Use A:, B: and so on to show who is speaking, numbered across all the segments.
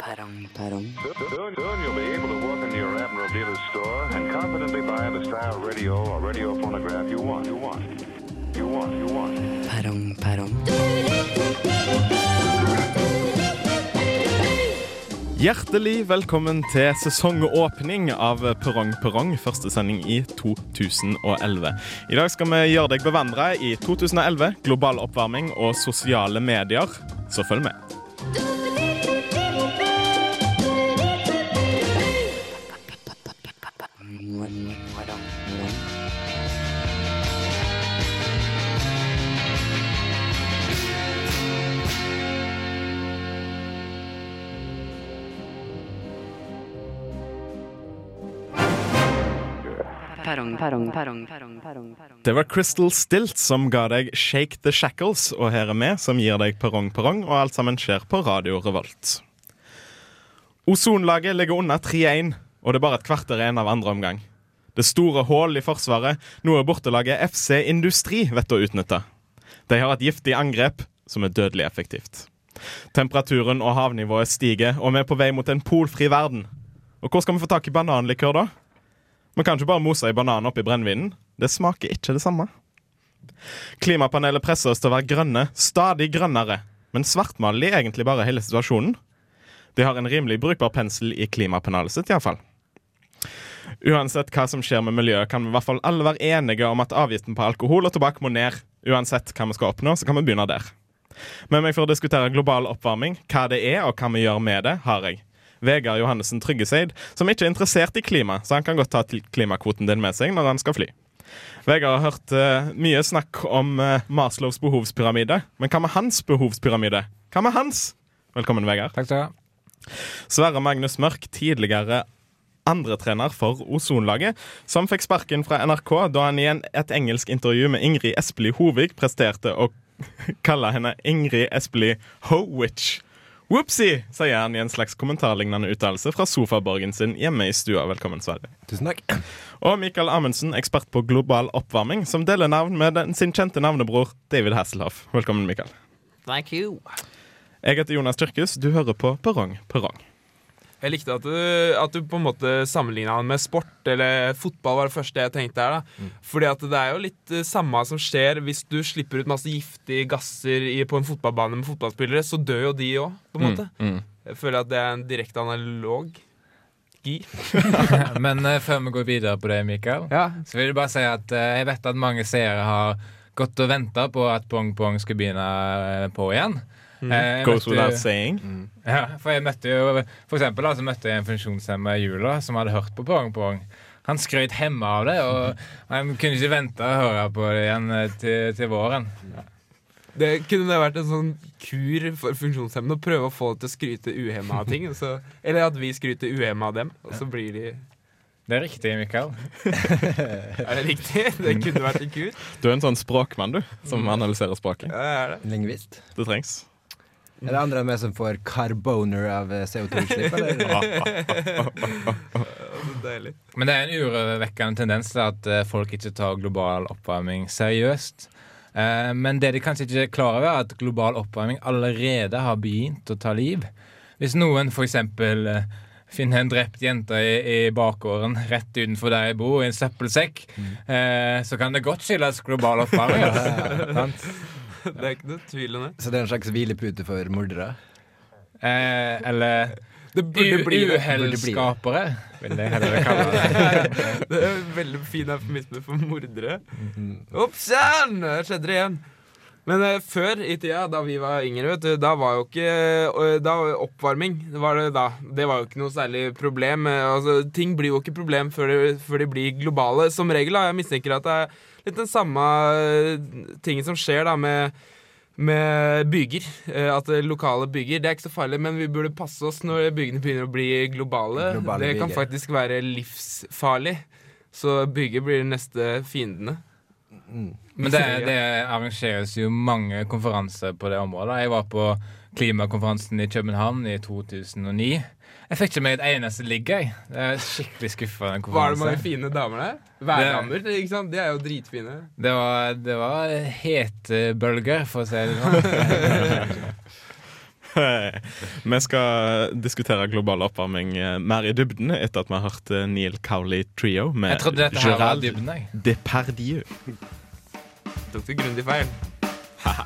A: Perrong, perrong.
B: Soon, soon you'll be able to walk into your Admiral dealer's store and confidently buy the style radio or radio phonograph you want. You want. You want. You want.
A: Perrong, perrong.
C: Hjertelig velkommen til sesongåpning av Perrong Perrong, første sending i 2011. I dag skal vi gjøre deg bevandra i 2011, global oppvarming og sosiale medier, så følg med.
A: Perrong, perrong. Perrong, perrong, perrong, perrong, perrong, perrong.
C: Det var Crystal Stilt som ga deg Shake the Shackles, og her er vi som gir deg Perrong Perrong, og alt sammen skjer på Radio Revolt. Ozonlaget ligger unna 3-1, og det er bare et kvarter igjen av andre omgang. Det store hull i forsvaret, noe bortelaget FC Industri vet å utnytte. De har et giftig angrep som er dødelig effektivt. Temperaturen og havnivået stiger, og vi er på vei mot en polfri verden. Og hvor skal vi få tak i bananlikør, da? Man kan ikke bare mose ei banan oppi brennevinen. Det smaker ikke det samme. Klimapanelet presser oss til å være grønne, stadig grønnere. Men svartmaler de egentlig bare hele situasjonen? De har en rimelig brukbar pensel i klimapanelet sitt, iallfall. Uansett hva som skjer med miljøet, kan vi i hvert fall alle være enige om at avgiften på alkohol og tobakk må ned. Uansett hva vi skal oppnå, så kan vi begynne der. Med meg for å diskutere global oppvarming, hva det er og hva vi gjør med det, har jeg Vegard Johannessen Tryggeseid, som ikke er interessert i klima, så han kan godt ta til- klimakvoten din med seg når han skal fly. Vegard har hørt eh, mye snakk om eh, Maslows behovspyramide, men hva med hans behovspyramide? Hva med hans? Velkommen, Vegard.
D: Takk skal du ha.
C: Sverre Magnus Mørk, tidligere andretrener for Ozonlaget, som fikk sparken fra NRK da han i en, et engelsk intervju med Ingrid Espelid Hovig presterte å kalle henne Ingrid Espelid Ho-Witch. Whoopsie, sier han i en slags kommentarlignende uttalelse fra sofaborgen sin hjemme i stua. Velkommen, Sverre.
D: Tusen takk.
C: Og Mikael Amundsen, ekspert på global oppvarming, som deler navn med den, sin kjente navnebror David Hasselhoff. Velkommen, Mikael.
E: Thank you.
C: Jeg heter Jonas Tyrkhus. Du hører på Perrong Perrong.
F: Jeg likte at du, at du på en måte sammenligna han med sport, eller fotball var det første jeg tenkte her. da. Fordi at det er jo litt eh, samme som skjer hvis du slipper ut masse giftige gasser i, på en fotballbane med fotballspillere, så dør jo de òg, på en måte. Jeg føler at det er en direkte analog. Gi.
G: Men eh, før vi går videre på det, Mikael,
D: Ja.
G: så vil jeg bare si at eh, jeg vet at mange seere har gått og venta på at Pong Pong skulle begynne eh, på igjen. Eh, jeg
C: Goes
G: møtte-
C: without saying.
G: ja, for jeg møtte jo For eksempel da, så møtte jeg en funksjonshemma i jula som hadde hørt på Pong Pong. Han skrøt hemma av det, og han kunne ikke vente å høre på det igjen eh, til, til våren.
F: Det kunne det vært en sånn kur for funksjonshemmede. Å prøve å få dem til å skryte uhemma av ting. og Så, eller at vi skryter uhemma av dem, og så blir de
G: Det er riktig, Mikael.
F: Er det riktig? Det kunne vært en kur.
C: Du er en sånn språkmann, du, som
G: Mm.
C: analyserer språket.
F: Ja, det er det.
D: Lingvist.
C: Det trengs.
D: Er det andre enn meg som får carboner av eh, CO2-utslipp, eller?
F: Så Deilig.
G: Men det er en urovekkende tendens til at eh, folk ikke tar global oppvarming seriøst. Eh, Men det de kanskje ikke er klar over, er at global oppvarming allerede har begynt å ta liv. Hvis noen f.eks. finner en drept jente i, i bakgården rett utenfor der jeg bor, i en søppelsekk, eh, så kan det godt skyldes global oppvarming. Altså. Sant?
F: Det er ikke noe tvil om det.
D: Så det er en slags hvilepute for mordere?
G: Eh, Eller
F: Det burde bli det.
G: uhellskapere, vil jeg heller kalle det.
F: Det er en veldig fin eufemisme for mordere. Oppsann! Der skjedde det igjen. Men eh, før i tida, da vi var yngre, vet du, da var jo ikke eh, da, Oppvarming det var det da. Det var jo ikke noe særlig problem. Eh, Altså, ting blir jo ikke problem før de, før de blir globale. Som regel, da. Jeg mistenker at det er litt den samme eh, tingen som skjer da med med byger. eh, At det er lokale byger. Det er ikke så farlig, men vi burde passe oss når bygene begynner å bli globale.
D: Globale
F: det kan
D: byger.
F: faktisk være livsfarlig. Så byger blir de neste fiendene.
G: Men det, det arrangeres jo mange konferanser på det området. Jeg var på klimakonferansen i København i 2009. Jeg fikk ikke med et eneste ligg, jeg. Det er skikkelig skuffende
F: Var det mange
G: konferanse.
F: fine damer der? Værdamer, ikke sant? De er jo dritfine.
G: Det var, det var hetebølger, for å si det sånn.
C: vi skal diskutere global oppvarming eh, mer i dybden etter at vi har hørt eh, Neil Cowley Trio med
G: Jeg trodde dette her var dybden, jeg.
C: Depardieu.
F: Tok du grundig feil?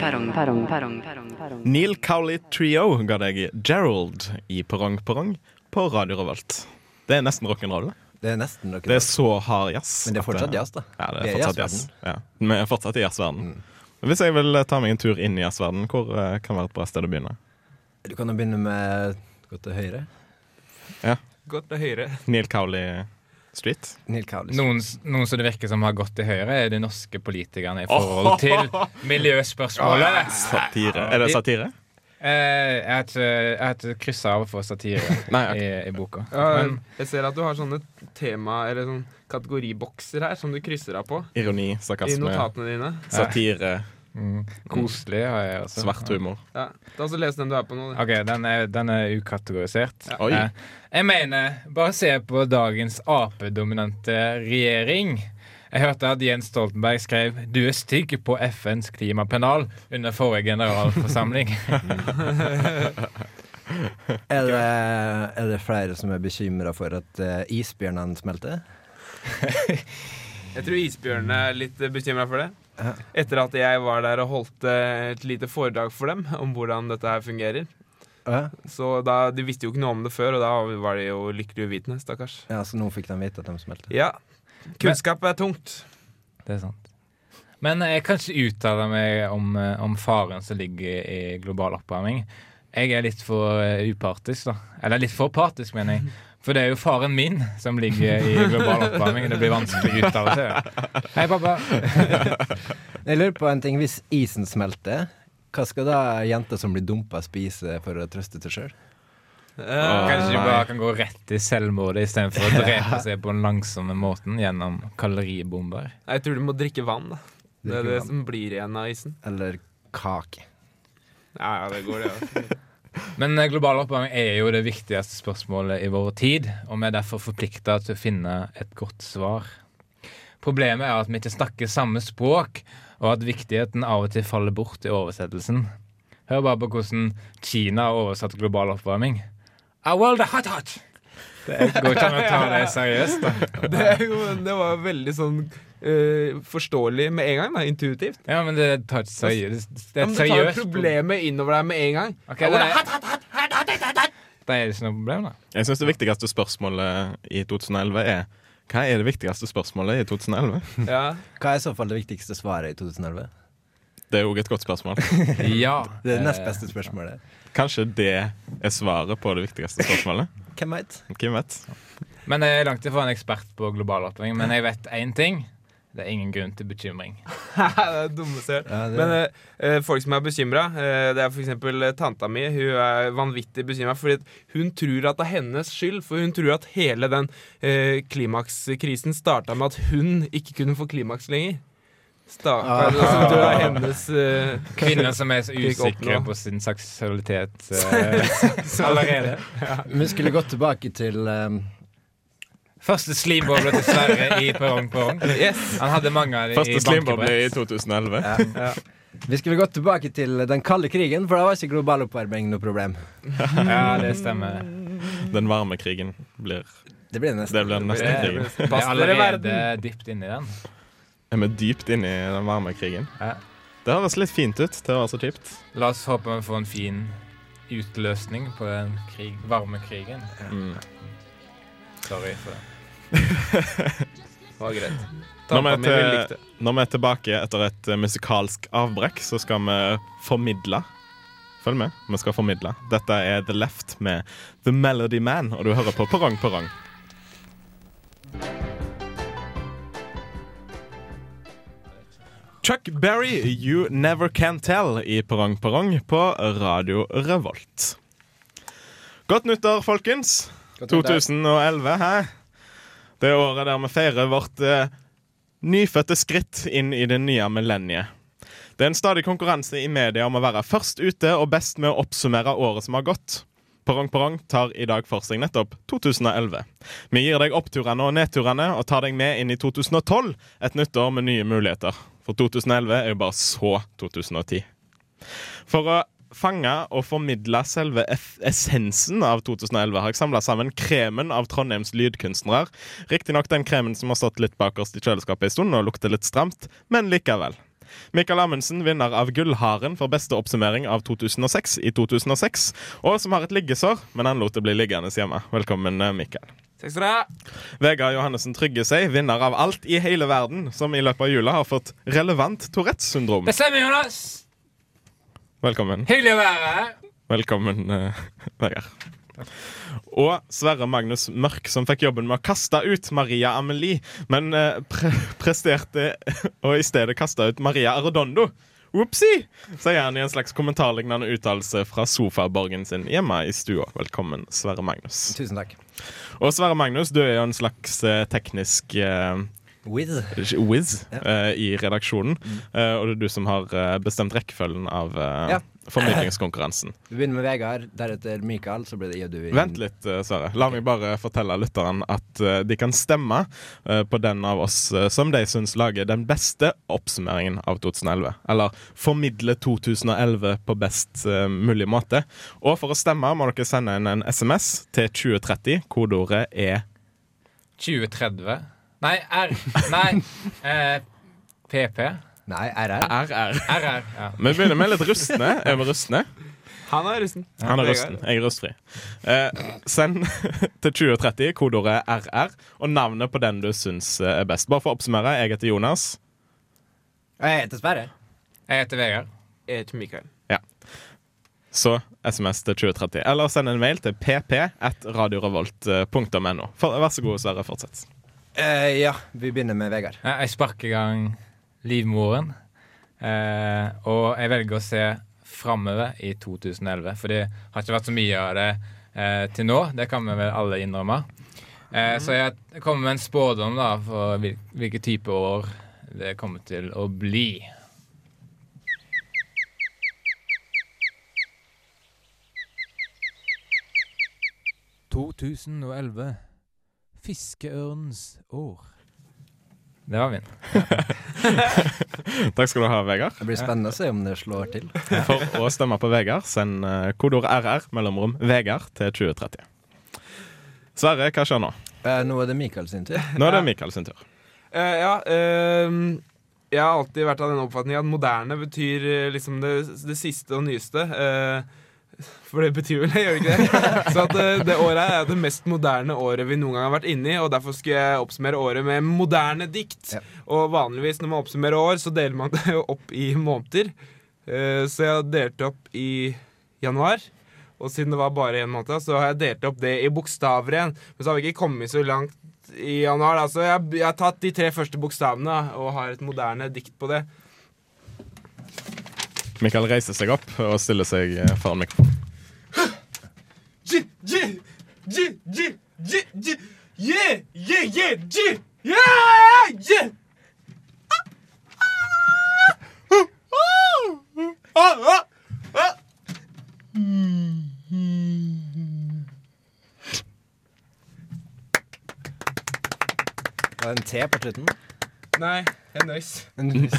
A: Perrong, perrong, perrong, perrong, perrong.
C: Neil Cowley Trio ga deg Gerald i Perrong Perrong på Radio Revolt. Det er nesten rock'n'roll. det.
D: Det er nesten noe
C: Det er så hard jazz.
D: Men det er
C: at eh,
D: fortsatt jazz, da.
C: Ja, det er
D: Vi er Mm. i
C: fortsatt jazz. Ja. Vi er fortsatt i jazzverdenen. Hvis jeg vil eh, ta meg en tur inn i jazzverdenen, hvor eh, kan være et bra sted å begynne?
D: Du kan jo begynne med Gå til høyre.
F: Godt til høyre.
C: Neil Cowley Street.
D: Neil Cowley.
G: Noen, s- noen som det virker som har gått til høyre, er de norske politikerne i forhold til miljøspørsmålet.
C: Satire. Er det satire?
G: Eh, jeg har ikke- jeg har ikke kryssa av for satire
C: Nei, ok.
G: i, i boka.
F: Ja,
G: Men
F: jeg ser at du har sånne tema- eller sånn kategoribokser her som du krysser av på
C: Ironi,
F: i
C: sarkasme,
F: notatene dine.
C: satire,
F: mm.
G: mm, koselig har jeg også.
C: svart humor.
F: Ja, Ta så Les den du er på nå. du.
G: Ok, den er, den er ukategorisert.
C: Oi.
G: Eh, Jeg mener, bare se på dagens Ap-dominante regjering. Jeg hørte at Jens Stoltenberg skrev 'Du er stygg' på FNs klimapenal under forrige generalforsamling.
D: Er det, er det flere som er bekymra for at eh, isbjørnene smelter?
F: Jeg tror isbjørnene er litt bekymra for det. Etter at jeg var der og holdt eh, et lite foredrag for dem om hvordan dette her fungerer.
D: Ja,
F: Så da, De visste jo ikke noe om det før, og da var de jo lykkelig uvitende. Stakkars.
D: ja Så nå fikk de vite at de smelter.
F: Ja. Kunnskap er tungt.
G: Det er sant. Men eh, jeg kan ikke uttale meg om, eh, om faren som ligger i global oppvarming. Jeg er litt for eh, upartisk, da. Eller litt for partisk, mener jeg. For det er jo faren min som ligger i global oppvarming. Det blir vanskelig å uttale seg. Hei, pappa.
D: Jeg lurer på en ting. Hvis isen smelter, hva skal da jenter som blir dumpa, spise for å trøste seg sjøl?
F: Eh,
G: Kanskje de
C: nei.
G: bare kan gå rett i selvmordet istedenfor å drepe seg på den langsomme måten gjennom kaloribomber.
F: jeg tror du må drikke vann. da Det er
D: Drikke
F: det
D: vann.
F: som blir igjen av isen.
D: Eller kake?
F: Ja, ja, det går, det. Ja.
G: Men eh, global oppvarming er jo det viktigste spørsmålet i vår tid, og vi er derfor forplikta til å finne et godt svar. Problemet er at vi ikke snakker samme språk, og at viktigheten av og til faller bort i oversettelsen. Hør bare på hvordan Kina har oversatt global oppvarming. Our world is hot, hot! Det går ikke an å ta det seriøst, da.
F: Det, er jo, det var veldig sånn eh, forståelig med en gang. da, Intuitivt.
G: Ja, men det tar ikke seriøst.
F: Ja, men
G: Det er
F: du
G: et
F: tar jo
G: seriøst
F: problemet innover deg med en gang.
G: Ok, det er, da er det ikke noe problem, da.
C: Jeg syns det viktigste spørsmålet i 2011 er Hva er det viktigste spørsmålet i 2011?
F: Ja.
D: Hva er i så fall det viktigste svaret i 2011?
C: Det er òg et godt spørsmål.
G: Ja.
D: Det er det nest beste spørsmålet.
C: Kanskje det er svaret på det viktigste spørsmålet?
D: Hvem veit?
C: Hvem vet?
G: Men jeg er langt ifra en ekspert på global oppvarming. Men jeg vet én ting. Det er ingen grunn til bekymring.
F: det er dumme ser.
D: Ja, det-
F: Men eh, eh, folk som er bekymra, det er f.eks. tanta mi. Hun er vanvittig bekymra, fordi at hun tror at det er hennes skyld. For hun tror at hele den eh, klimakskrisen starta med at hun ikke kunne få klimaks lenger. Stakkar. Altså, hun tror det er hennes eh,
G: Kvinner som er så
F: Fikk opp
G: usikre
F: nå.
G: på sin seksualitet eh, allerede.
D: Vi skulle gått tilbake til eh,
G: Første slimboble til Sverre i Perrong Perrong.
F: Yes!
G: Han hadde mange av dem i
C: Første slimboble i
G: bankebrett.
C: 2011.
D: Vi skulle gått tilbake til den kalde krigen, for da var ikke global oppvarming noe problem.
G: Ja, det stemmer.
C: Den varme krigen blir
D: Det blir nesten.
C: Det blir den neste krigen.
G: Vi er
F: Pass dere
G: allerede
F: verden!
G: dypt inni den.
C: Er vi dypt inne i den varme krigen?
G: Ja.
C: Det høres litt fint ut til å være så kjipt.
G: La oss håpe vi får en fin utløsning på den krig, varme krigen.
C: Mm.
G: Sorry for det.
F: Det var greit.
C: Når vi,
F: Tanta mi
C: er
F: vil
C: til-
F: likte.
C: når vi er tilbake etter et eh, musikalsk avbrekk, så skal vi formidle. Følg med, vi skal formidle. Dette er The Left med The Melody Man, og du hører på Perrong Perrong. Chuck Berry, You Never Can Tell i Perrong Perrong på Radio Revolt. Godt nyttår, folkens. 2011, hæ? Det er året der vi feirer vårt eh, nyfødte skritt inn i det nye millenniet. Det er en stadig konkurranse i media om å være først ute og best med å oppsummere året som har gått. Perrong Perrong tar i dag for seg nettopp 2011. Vi gir deg oppturene og nedturene og tar deg med inn i 2012, et nytt år med nye muligheter. For 2011 er jo bare så 2010. For å fange og formidle selve eff- essensen av 2011 har jeg samla sammen kremen av Trondheims lydkunstnere. Riktignok den kremen som har stått litt bakerst i kjøleskapet en stund og lukter litt stramt, men likevel. Mikael Amundsen, vinner av Gullharen for beste oppsummering av 2006 i 2006, og som har et liggesår, men han lot det bli liggende hjemme. Velkommen, eh, Mikael.
F: Takk skal du ha.
C: Vegard Johannessen Trygge seg, vinner av Alt i hele verden, som i løpet av jula har fått relevant Tourettes syndrom.
G: Det stemmer, Jonas!
C: Velkommen.
G: Hyggelig å være her.
C: Velkommen, eh, Vegard. Og Sverre Magnus Mørk, som fikk jobben med å kaste ut Maria Amelie, men eh, pre presterte å i stedet kaste ut Maria Arredondo. Opsi! sier han i en slags kommentarlignende uttalelse fra sofaborgen sin hjemme i stua. Velkommen, Sverre Magnus.
D: Tusen takk.
C: Og Sverre Magnus, du er jo en slags eh, teknisk eh,
D: With.
C: whiz
D: Ja. Mm.
C: eh, i redaksjonen, eh, og det er du som har eh, bestemt rekkefølgen av eh,
D: Ja.
C: formidlingskonkurransen.
D: Vi begynner med Vegard, deretter Mikael, så blir det jeg og du. igjen.
C: Vent litt, eh, Sverre. La meg bare fortelle lytteren at eh, de kan stemme eh, på den av oss eh, som de syns lager den beste oppsummeringen av 2011. Eller formidle 2011 på best eh, mulig måte. Og for å stemme må dere sende inn en SMS til 2030. Kodeordet er
G: 2030. Nei, R. Nei. Eh, PP.
D: Nei, RR.
C: RR.
G: RR. Ja.
C: Vi begynner med litt rustne. Er vi rustne?
F: Han er russen.
C: Han er
F: Vegard.
C: rusten. Jeg er rustfri. Eh, send til 2030 kodeordet RR og navnet på den du syns eh, er best. Bare for å oppsummere. Jeg heter Jonas.
D: Og Jeg heter Sverre.
G: Jeg heter Vegard.
F: Jeg heter Mikael.
C: så SMS til 2030. Eller send en mail til pp.radiorevolt.no. For- Vær så god, Sverre. Fortsett.
D: Eh, ja, vi begynner med Vegard.
G: Ja, Eh, Jeg sparker i gang livmoren. Eh, og jeg velger å se framover i 2011, for det har ikke vært så mye av det eh, til nå. Det kan vi vel alle innrømme. Eh, så jeg kommer med en spådom da, for hvil hvilke type år det kommer til å bli. Fiskeørnens år. Det var min.
C: Takk skal du ha, Vegard.
D: Det blir spennende å se om det slår til.
C: For å stemme på Vegard, send eh, kodeord RR mellomrom Vegard til 2030. Sverre, hva skjer nå?
D: Eh, nå er det Mikael sin tur.
C: Nå er det Mikael sin tur.
F: Eh, ja, ehm, jeg har alltid vært av den oppfatning at moderne betyr eh, liksom det, det siste og nyeste. eh, for det betyr vel det, gjør det ikke det? Så at eh, det året her er det mest moderne året vi noen gang har vært inne i, og derfor skulle jeg oppsummere året med moderne dikt.
D: Ja.
F: Og vanligvis når man oppsummerer år, så deler man det jo opp i måneder. Eh, så jeg har delt opp i januar. Og siden det var bare én måned, så har jeg delt opp det i bokstaver igjen. Men så har vi ikke kommet så langt i januar, da. Så jeg, jeg har tatt de tre første bokstavene da, og har et moderne dikt på det.
C: Mikael reiser seg opp og stiller seg eh, foran mikrofonen.
F: G, G, G, G, G, G. Yeah, yeah, yeah, G. Yeah, yeah. Ah,
D: Og en T på slutten.
F: Nei, jeg nøys.
D: En-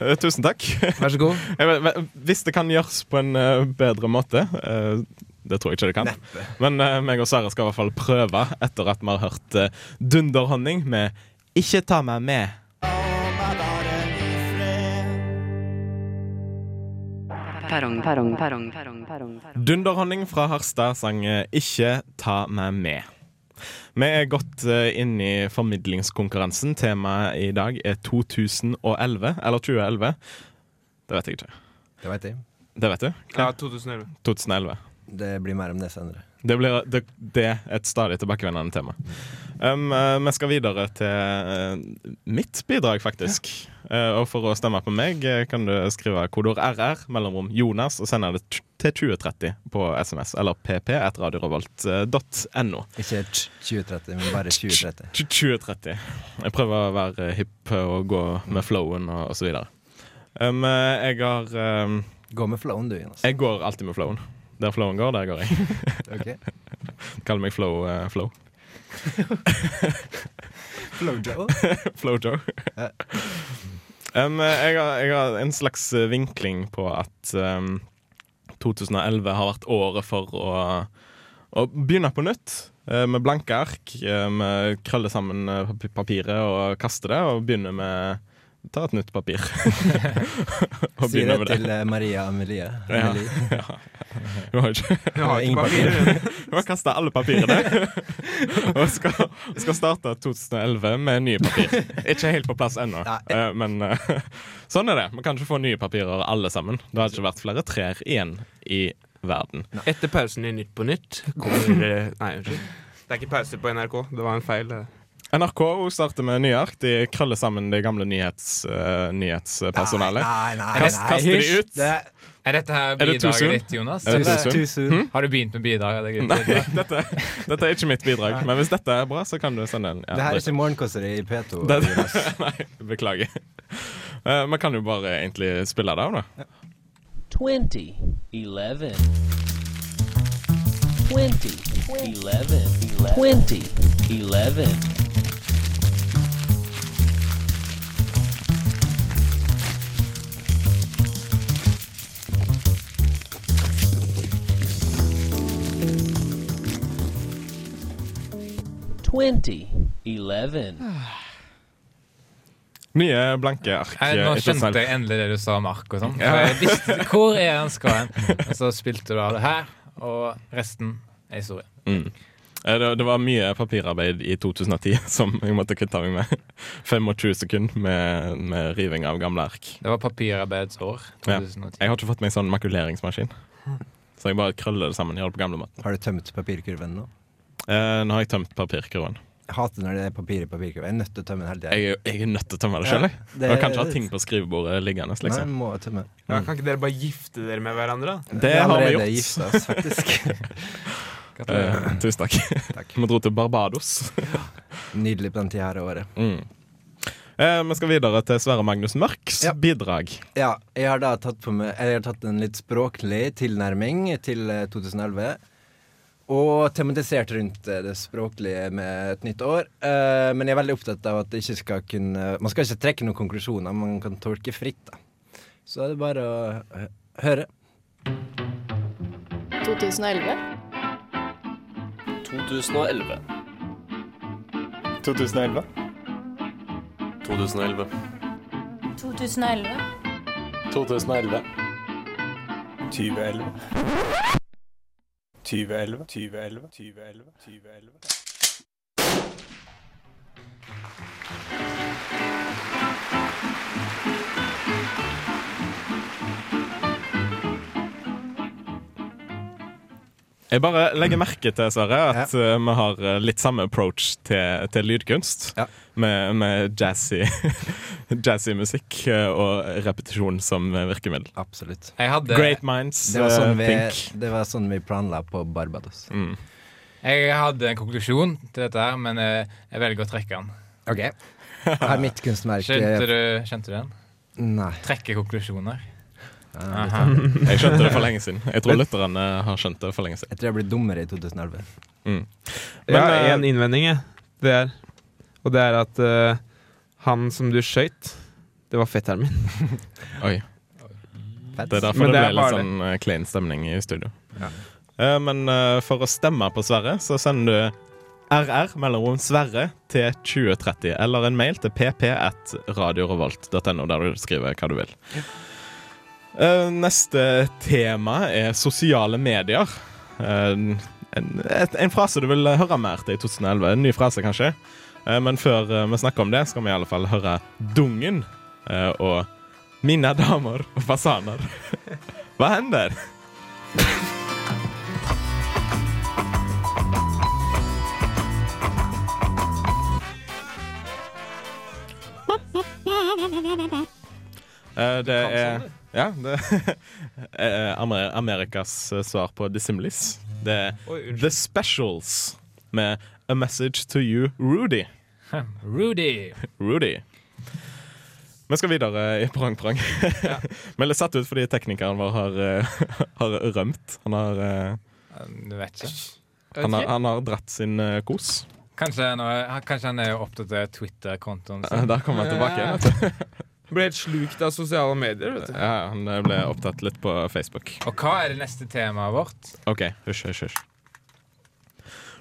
C: Eh, Tusen takk.
F: Vær så god.
C: Jeg vet, vet- hvis det kan gjøres på en eh, bedre måte eh, Det tror jeg ikke det kan. Men eh, meg og Sverre skal i hvert fall prøve etter at vi har hørt eh, Dunderhonning med 'Ikke ta meg med'.
A: Perrong, perrong, perrong, perrong, perrong. perrong.
C: Dunderhonning fra Harstad sang eh, 'Ikke ta meg med'. Vi er godt eh, inne i formidlingskonkurransen. Temaet i dag er 2011, eller 2011. Det vet jeg ikke.
D: Det vet jeg.
C: Det vet du?
F: Ja, 2011.
C: 2011.
D: Det blir mer om det senere.
C: Det blir det, det er et stadig tilbakevendende tema. Um, eh, vi skal videre til eh, mitt bidrag, faktisk. Eh, og for å stemme på meg eh, kan du skrive kodeord RR mellomrom Jonas og sende det t- til 2030 på SMS eller pp etter radiorevolt.no.
D: Ikke t- 2030, men bare 2030.
C: 2030. Jeg prøver å være hipp og gå med flowen og, og så videre. Um, eh, jeg har um,
D: Gå med flowen, du, Jonas.
C: Jeg går alltid med flowen. Der flowen går, der går jeg.
D: Ok.
C: Kaller meg Flow eh, Flow.
D: Flojo.
C: Flojo.
D: Ja.
C: um, jeg, har, jeg har en slags eh, vinkling på at um, 2011 har vært året for å, å begynne på nytt. eh, Med blanke ark. eh, Med krølle sammen eh, papi- papiret og kaste det, og begynne med Ta et nytt papir. og
D: Si
C: begynne
D: det
C: med det.
D: til eh, Maria Amelie.
C: Ja.
D: Amelie.
C: Hun har ikke
F: Jeg har
D: Ingen
F: ikke papirer.
C: Hun har kasta alle papirene og skal, skal starte 2011 med nye papir. Ikke helt på plass ennå,
D: Nei.
C: eh, men eh, sånn er det. Vi kan ikke få nye papirer alle sammen. Det har ikke vært flere trær igjen i verden.
F: Etter pausen i Nytt på nytt kommer eh, Nei, unnskyld. Det er ikke pause på NRK. Det var en feil. eh.
C: NRK også starter med nye ark. De krøller sammen det gamle nyhets, eh, nyhetspersonalet.
D: Nei, nei, nei.
C: Kast, kaster de ut.
D: Det,
G: Er dette her
C: Er det too soon?
G: bidraget ditt, Jonas?
C: Er det
D: det
G: Eller
C: too Hmm?
D: er
C: soon?
D: too soon.
G: Har du begynt med bidrag? Er det
C: Mm. Nei,
G: greit?
C: dette, dette er ikke mitt bidrag. Men hvis dette er bra, så kan du sende en. ja,
D: Det her er
C: dritt.
D: ikke morgenkåseri i P2.
C: Det- Nei, beklager. Eh, Vi kan jo bare egentlig spille det av, da.
E: 20 11 20 11 20 11 20 11
C: Nye blanke ark. eh,
G: Nei, Eh, nå
C: ikke sant?
G: skjønte jeg endelig det du sa om ark og sånn. For
C: Ja.
G: Jeg visste hvor er han skal hen. Og så spilte du av det her, og resten er historie.
C: Eh, Det, det var mye papirarbeid i 2010 som jeg måtte kvitte meg med. 25 sekunder med, med riving av gamle ark.
G: Det var papirarbeidets år.
C: Ja.
G: 2010.
C: Jeg har ikke fått meg sånn makuleringsmaskin. Så jeg bare krøller det sammen. Gjør det på gamlemåten.
D: Har du tømt papirkurven nå?
C: Eh, nå har jeg tømt papirkurven.
D: Jeg hater når det er papir i papirkurven. Jeg er nødt til å tømme den hele tida.
C: Jeg, er- jeg er nødt til å tømme det sjøl. jeg.
D: det-
C: Jeg kan ikke ha ting på skrivebordet liggende.
D: Nei,
C: liksom.
D: må jeg tømme.
F: Ja, kan ikke dere bare gifte dere med hverandre? da?
C: Det har vi
D: allerede
C: gjort.
D: gifta oss, faktisk.
G: Gratulerer.
C: Eh, tusen takk.
D: Takk.
C: Vi dro til Barbados.
D: Nydelig på den tida her av året.
C: Mm. Eh, vi skal videre til Sverre Magnus Mørks
D: Ja.
C: bidrag.
D: Ja, jeg har da tatt, på meg, eller jeg har tatt en litt språklig tilnærming til eh, 2011. Og tematisert rundt eh, det språklige med et nytt år. Eh, Men jeg er veldig opptatt av at det ikke skal kunne Man skal ikke trekke noen konklusjoner, man kan tolke fritt. da Så er det bare å eh, høre.
H: 2011.
E: 2011
I: 2011.
H: 2011.
E: 2011
I: 2011. 2011. 2011. 2011. 2011. 2011.
C: Jeg bare legger merke til, Sverre, at eh, vi har eh, litt samme approach til, til lydkunst.
D: Ja.
C: Med, med jazzy, jazzy musikk eh, og repetisjon som eh, virkemiddel.
D: Absolutt.
G: Jeg hadde,
C: Great minds
D: Det var sånn
C: eh,
D: vi,
C: think.
D: det var sånn vi planla på Barbados.
G: jeg hadde en konklusjon til dette her, men eh, jeg velger å trekke den.
D: Ok. Har mitt
G: Skjønte
D: kunstverk
G: du, skjønte du den?
D: Nei.
G: Trekke konklusjoner. Aha.
C: Jeg skjønte det for lenge siden. Jeg tror lytterne har skjønt det for lenge siden.
D: Jeg tror jeg ble dummere i 2011.
C: Men,
F: jeg har
C: eh,
F: én innvending, jeg. Det er, og det er at eh, han som du skøyt, det var fetteren min.
C: Oi,
D: Fett.
C: Det er
F: Men
C: derfor det,
F: det
C: ble
F: er bare
C: litt sånn eh, klein stemning i studio. Eh, men eh, for å stemme på Sverre, så sender du RR mellomrom Sverre til 2030, eller en mail til pp at radiorevolt.no, der du skriver hva du vil. Eh, neste tema er sosiale medier. Eh, en, et, en frase du vil høre mer til i 2011. En ny frase, kanskje. Eh, men før eh, vi snakker om det, skal vi i alle fall høre Dungen eh, og Mine damer og fasaner. Hva hender? Eh, Eh, Det
F: sånn,
C: er ja, det er Amer- Amerikas eh, svar på The Similis. Det er
F: Oi, unnskyld.
C: The Specials med A Message to You, Rudy.
G: Rudy.
C: Rudy. Vi skal videre i prang-prang. Vi ble satt ut fordi teknikeren vår har, eh, har rømt. Han har, eh,
G: Du vet ikke.
F: Jeg
C: han
F: vet
C: har,
F: ikke.
C: han har dratt sin eh, kos.
G: Kanskje, han er- kanskje han er opptatt av Twitter-kontoen
C: Eh,
G: sin.
C: Der kommer han tilbake. igjen, vet du.
F: Ble helt slukt av sosiale medier. vet du.
C: Ja, ja, han eh, ble opptatt litt på Facebook.
G: Og hva er det neste temaet vårt?
C: OK, hysj, hysj, hysj.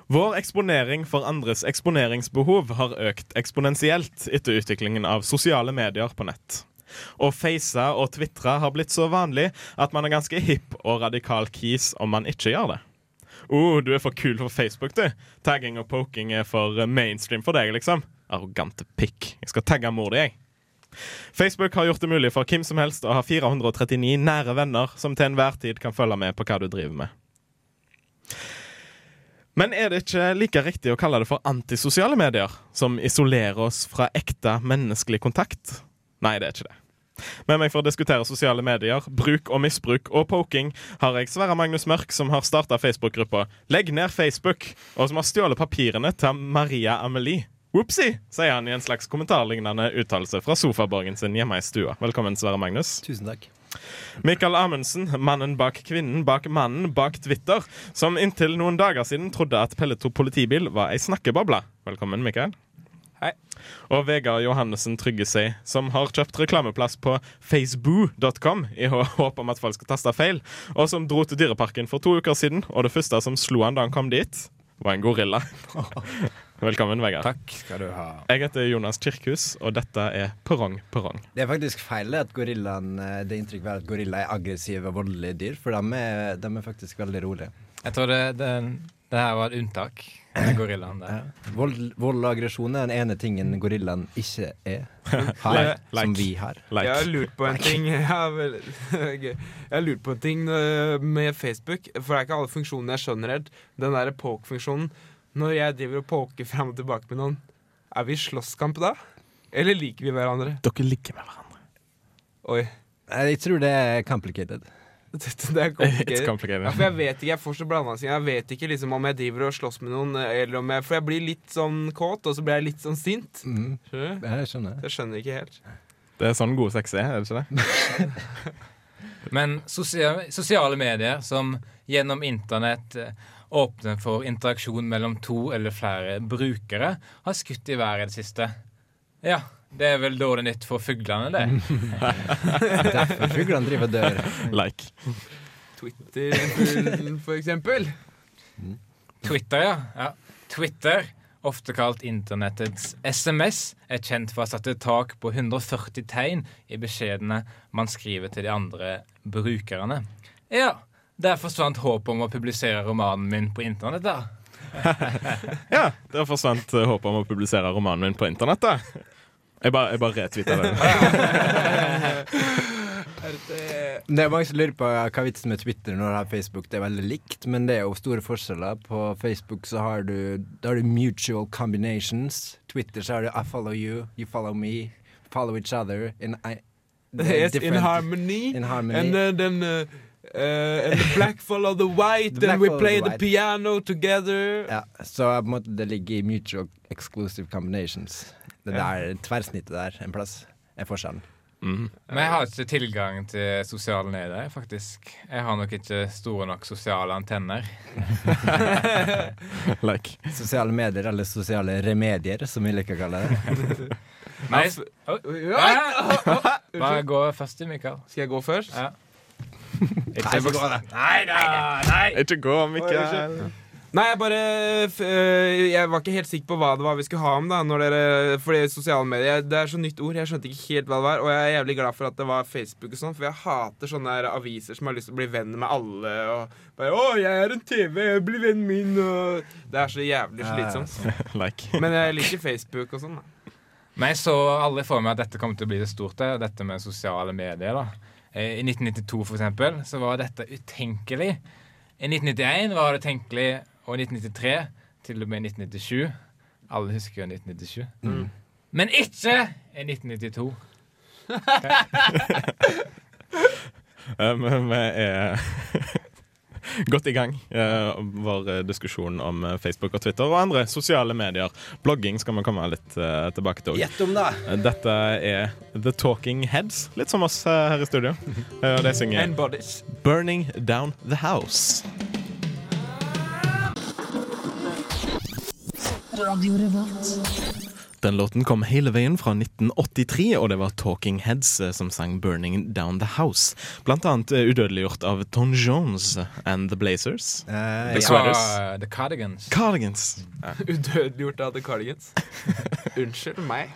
C: Vår eksponering for andres eksponeringsbehov har økt eksponentielt etter utviklingen av sosiale medier på nett. Å face og tvitre har blitt så vanlig at man er ganske hipp og radikal kis om man ikke gjør det. oh, du er for kul for Facebook, du. Tagging og poking er for eh, mainstream for deg, liksom. Arrogante pikk. Jeg skal tagge mor di, jeg. Facebook har gjort det mulig for hvem som helst å ha 439 nære venner som til enhver tid kan følge med på hva du driver med. Men er det ikke like riktig å kalle det for antisosiale medier, som isolerer oss fra ekte menneskelig kontakt? Nei, det er ikke det. Med meg for å diskutere sosiale medier, bruk og misbruk og poking har jeg Sverre Magnus Mørk, som har starta Facebook-gruppa Legg ned Facebook, og som har stjålet papirene til Maria Amelie. Whoopsie, sier han i en slags kommentarlignende uttalelse fra sofaborgen sin hjemme i stua. Velkommen, Sverre Magnus.
D: Tusen takk.
C: Michael Amundsen, mannen bak kvinnen bak mannen bak Twitter, som inntil noen dager siden trodde at Pelleto politibil var ei snakkeboble. Velkommen, Michael.
G: Hei.
C: Og Vegard Johannessen Tryggesei, som har kjøpt reklameplass på facebook.com i hå- håp om at folk skal taste feil, og som dro til Dyreparken for to uker siden, og det første som slo han da han kom dit, var en gorilla. Velkommen, Vegard.
G: Takk skal du ha.
C: Jeg heter Jonas Kirkhus, og dette er Perrong Perrong.
D: Det er faktisk feil at gorillaen, eh, det inntrykket er at gorilla er aggressive og voldelige dyr, for de er, de er faktisk veldig rolige.
G: Jeg tror det, det, det her var et unntak. Den gorillaen der.
D: Vold, vold og aggresjon er den ene tingen gorillaen ikke er. Har,
C: Like.
D: Som vi har.
F: Jeg har
C: Like.
F: lurt på en ting ja, vel, gøy. Jeg har lurt på en ting øh, med Facebook. For det er ikke alle funksjonene jeg skjønner helt. Den derre poke-funksjonen. Når jeg driver og poker fram og tilbake med noen, er vi i slåsskamp da? Eller liker vi hverandre?
C: Dere ligger med hverandre.
F: Oi.
D: Jeg tror det er complicated.
F: Dette, det er
C: It's
F: komplikert. Ja,
C: complicated.
F: for jeg vet ikke, jeg får så blanda ting. Jeg vet ikke liksom om jeg driver og slåss med noen, eh, eller om jeg For jeg blir litt sånn kåt, og så blir jeg litt sånn sint.
D: Mm.
F: Skjønner du?
D: Jeg skjønner.
F: Jeg skjønner ikke helt.
C: Det er sånn god sex er, er det ikke det?
G: Men sosiale, sosiale medier som gjennom internett eh, åpner for interaksjon mellom to eller flere brukere, har skutt i været i det siste. Ja, det er vel dårlig nytt for fuglene, det.
D: Derfor fuglene driver og dør.
C: Like.
F: Twitter, for eksempel.
G: Twitter, ja. ja. Twitter, ofte kalt internettets SMS, er kjent for å sette tak på 140 tegn i beskjedene man skriver til de andre brukerne. Ja, der forsvant håpet om å publisere romanen min på internett, da.
C: Ja, der forsvant eh, håpet om å publisere romanen min på internett, da. Jeg bare, jeg bare retweeta det.
D: Det er mange som lurer på hva er vitsen med Twitter når du har Facebook. Det er veldig likt, men det er jo store forskjeller. På Facebook så har du, da har du mutual combinations. Twitter så har du I follow you, you follow me, follow each other. In, I, they're
F: Yes, in
D: different-
F: harmony.
D: in harmony.
F: And then, then uh, uh, and the black follow the white,
D: The black
F: and we
D: follow the
F: play the,
D: white.
F: piano together.
D: ja, så på en måte det ligger i mutual exclusive combinations. Det der tverrsnittet der en plass er forskjellen.
G: Men jeg har ikke tilgang til sosiale medier, faktisk. Jeg har nok ikke store nok sosiale antenner.
C: Like.
D: Sosiale medier, eller sosiale remedier, som vi liker å kalle det. Eh,
G: Nei, s- Oi.
F: Ja.
G: Hæ? Bare gå først, Mikael.
F: Skal jeg gå først?
G: Ja. Ikke voks- Nei da! Nei!
C: Ikke gå, Mikkel.
F: Nei, jeg bare f- øh, Jeg var ikke helt sikker på hva det var vi skulle ha om, da. Når dere, fordi sosiale medier Det er så nytt ord. Jeg skjønte ikke helt hva det var. Og jeg er jævlig glad for at det var Facebook og sånn, for jeg hater sånne her aviser som har lyst til å bli venn med alle. Og bare 'Å, jeg er en TV, bli vennen min', og Det er så jævlig slitsomt.
C: Like.
F: Men jeg liker Facebook og sånn, da.
G: Men jeg så aldri for meg at dette kom til å bli det stort, det, dette med sosiale medier. da. Eh, I 1992, for eksempel, så var dette utenkelig. I 1991 var det tenkelig, og i 1993 til og med i 1997. Alle husker jo 1997.
D: Mm.
G: Men ikke i 1992.
C: Eh, Men vi er godt i gang. eh, Vår eh, diskusjon om eh, Facebook og Twitter og andre sosiale medier. Blogging skal vi komme litt eh, tilbake til.
D: Gjett om, da!
C: Dette er The Talking Heads, litt som oss eh, her i studio. Eh, Og de synger
F: And bodies.
C: Burning Down The House. Den låten kom hele veien fra 1983, og det var Talking Heads eh, som sang 'Burning Down The House'. Blant annet eh, udødeliggjort av Ton Jones and The Blazers.
D: Eh,
C: The
D: ja.
C: Sweaters.
G: Ah, the Cardigans.
C: Cardigans.
F: Udødeliggjort av The Cardigans. Unnskyld meg.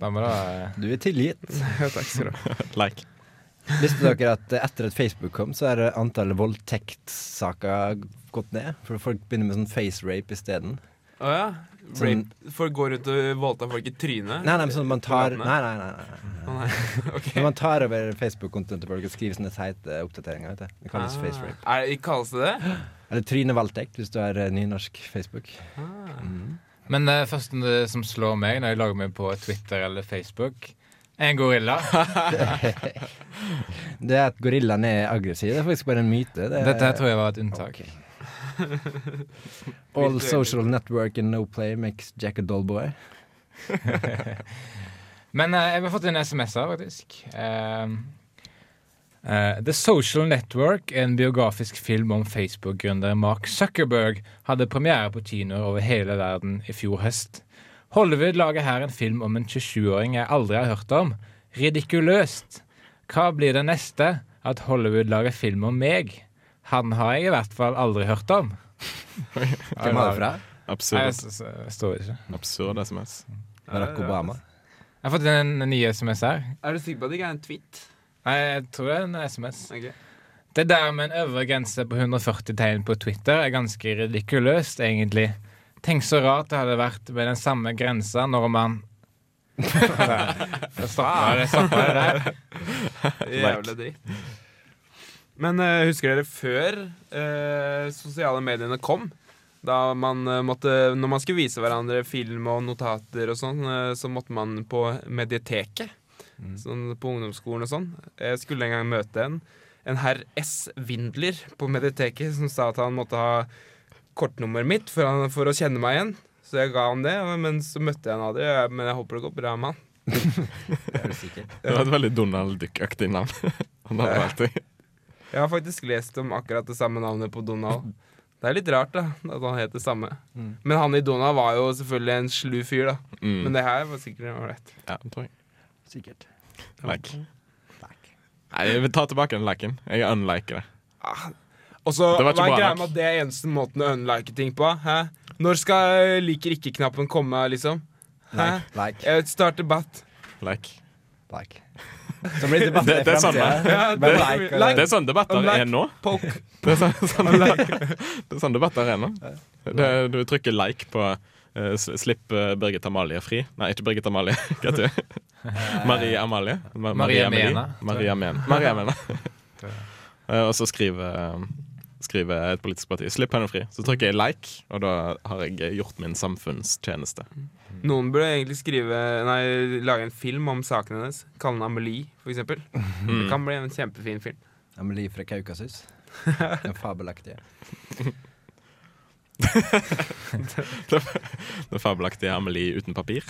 G: Da eh, må det
D: Du er tilgitt.
F: Takk skal du ha.
C: Like.
D: Visste dere at eh, etter at Facebook kom, så er antallet voldtektssaker gått ned? For folk begynner med sånn face rape isteden.
F: Å ja?
D: Sånn-
F: Rape. Folk går rundt og voldtar folk i trynet?
D: Nei, nei, men sånn man tar Nei,
F: Gatene?
D: nei, nei. nei.
F: Å, nei. Ok.
D: Når man tar over Facebook-kontoen til folk og skriver sånne teite oppdateringer. vet du Det kalles
F: Ah.
D: face rape.
F: Er det, kalles det det?
D: Eller trynevoldtekt, hvis du har eh, nynorsk Facebook. Mm.
G: Men det første som slår meg når jeg lager meg på Twitter eller Facebook, er en gorilla.
D: Det er at gorillaen er aggressiv, det er faktisk bare en myte. Det er
G: Dette her tror jeg var et unntak.
D: Ok. All social network and no play makes Jack a dull boy.
G: Men eh, jeg har fått en SMS her, faktisk. Eh, eh, The Social Network, en biografisk film om Facebook-gründer Mark Zuckerberg, hadde premiere på kinoer over hele verden i fjor høst. Hollywood lager her en film om en 27-åring jeg aldri har hørt om. Ridikuløst! Hva blir det neste? At Hollywood lager film om meg? Han har jeg i hvert fall aldri hørt om.
D: Hvem var det fra?
G: Nei, altså-
C: Absurd.
G: jeg s- s- jeg står ikke.
C: Absurd SMS.
D: Barack Obama.
G: Jeg har fått en en ny SMS her.
F: Ah. Er du sikker på at det ikke er en tweet?
G: Nei, jeg tror det er en SMS.
F: Ok.
G: Det der med en øvre grense på 140 tegn på Twitter er ganske ridikuløst, egentlig. Tenk så rart det hadde vært med den samme grensa når man Der. Stoppa det, stoppa det der.
F: Jævla dritt. Men eh, husker dere før eh, sosiale mediene kom? Da man eh, måtte, når man skulle vise hverandre film og notater og sånn, eh, så måtte man på medieteket. Sånn på ungdomsskolen og sånn. Jeg skulle en gang møte en, en herr S. Windler på medieteket som sa at han måtte ha kortnummeret mitt for, han, for å kjenne meg igjen. Så jeg ga han det, men så møtte jeg han aldri. Jeg- Men jeg håper det går bra med han.
C: Det var et veldig Donald Duck-aktig navn. Han har alltid
F: Jeg har faktisk lest om akkurat det samme navnet på Donald. Det er litt rart da, at han het det samme. Men han i Donald var jo selvfølgelig en slu fyr, da.
C: Mm.
F: Men det her var sikkert ålreit.
C: Ja, tror jeg.
D: Sikkert.
C: Like. Nei, jeg vil ta tilbake den liken. Jeg unliker det.
F: Og så,
C: Det var ikke
F: hva er
C: bra
F: greia
C: nok.
F: med at det er eneste måten å unlike ting på? Hæ? Når skal eh, liker ikke-knappen komme, liksom? Hæ?
D: Like, like,
F: Jeg Start debatt.
C: Like.
D: like. Så blir det debatt
C: Det-
D: i
C: det er sånn,
D: fremtiden.
F: ja.
D: Bare
F: Det-
D: like,
F: like.
D: eller-
C: Det er sånn debatter
F: Unlike.
C: er nå.
F: Poke.
C: Det er sånn, sånn, det er sånn debatter er nå. Det, du trykker like på eh, s- Slipp eh, Birgit Amalie fri. Nei, ikke Birgit Amalie. Hva heter hun? Marie Amalie. Ma
G: Maria
C: Amelie.
G: Mena.
C: Maria Mena. Maria Mena. Eh, Og så skriver Skriver et politisk parti 'slipp henne fri'. Så trykker jeg like, og da har jeg gjort min samfunnstjeneste.
F: Noen burde egentlig skrive Nei, lage en film om sakene hennes. Kalle den Amelie, for eksempel.
C: Mm.
F: Det kan bli en kjempefin film.
D: Amelie fra Kaukasus. Den fabelaktige.
C: Det fabelaktige Amelie uten papir.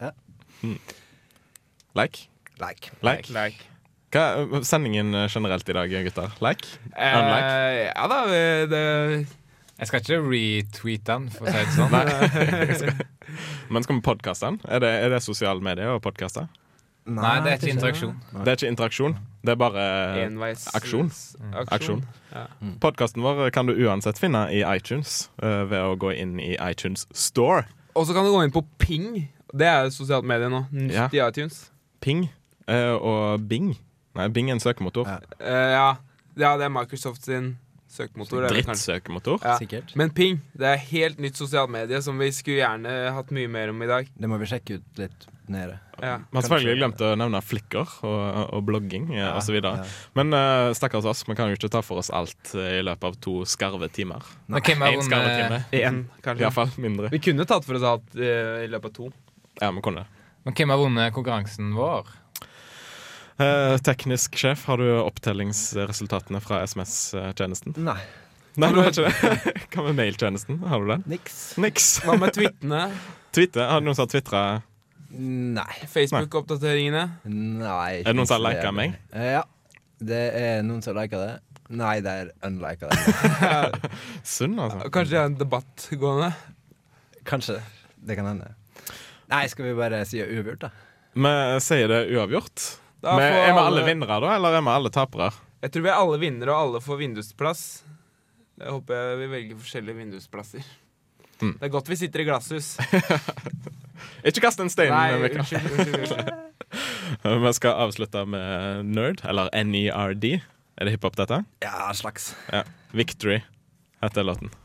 D: Ja.
C: Mm. Like?
D: Like.
C: Like? Hva er sendingen eh, generelt i dag, gutter? Like? Unlike?
F: Eh, ja da, eh, det
G: Jeg skal ikke retweete den, for å si det sånn.
C: Men skal vi podkaste den? Er det, er det sosiale medier og podkaster?
G: Nei, det er ikke interaksjon.
C: Det er ikke interaksjon, det er bare eh,
F: Enveis Mm.
C: aksjon.
F: aksjon.
C: Aksjon.
F: Ja.
C: Podkasten vår kan du uansett finne i iTunes eh, ved å gå inn i iTunes Store.
F: Og så kan du gå inn på Ping. Det er jo sosialt medie nå.
C: Ja.
F: Nytt i iTunes.
C: Ping eh, og Bing. Nei, Bing er en søkemotor.
D: Ja.
F: Eh, ja. ja, det er Microsoft sin søkemotor. eller kanskje-
C: Drittsøkemotor.
F: Ja.
D: Sikkert.
F: Men Ping det er helt nytt sosialt medie som vi skulle gjerne hatt mye mer om i dag.
D: Det må vi sjekke ut litt nede.
F: Ja.
C: Vi har selvfølgelig glemt å nevne flikker og, og blogging eh, og osv. videre
D: ja.
C: Men eh, stakkars oss, vi kan jo ikke ta for oss alt eh, i løpet av to skarve timer.
G: Men hvem har
C: Én skarve time.
G: vunnet-
C: Én,
F: Kanskje.
C: iallfall. Mindre.
F: Vi kunne tatt for oss alt eh, i løpet av to.
C: Ja, vi kunne det.
G: men hvem har vunnet konkurransen vår?
C: Eh, teknisk sjef, har du opptellingsresultatene fra SMS-tjenesten?
D: Nei.
C: Nei, du har ikke det. Hva med mailtjenesten? Har du den?
D: Niks.
C: Niks.
F: Hva med tweetene?
C: Twitter? Har noen som har twitra?
D: Nei.
F: Facebook-oppdateringene?
D: Nei.
C: Er det noen som har
D: ikke
C: liket meg?
D: Eh, Ja. Det er noen som liker det. Nei, det er unlika det.
C: Sunn, altså.
F: Kanskje det er en debatt gående?
D: Kanskje. Det kan hende. Nei, skal vi bare si uavgjort, da?
C: Vi sier det uavgjort.
F: Da
C: Men
F: får
C: er vi alle
F: alle-
C: vinnere, da, eller er vi alle tapere?
F: Jeg tror vi er alle vinnere, og alle får vindusplass. Jeg håper jeg vi velger forskjellige vindusplasser.
C: Mm.
F: Det er godt vi sitter i glasshus.
C: Ikke kast en stein.
F: Nei,
C: Vibeke.
F: unnskyld. unnskyld, unnskyld.
C: Vi skal avslutte med Nerd, eller NERD. Er det hiphop, dette?
D: Ja, slags.
C: Ja. Victory heter låten.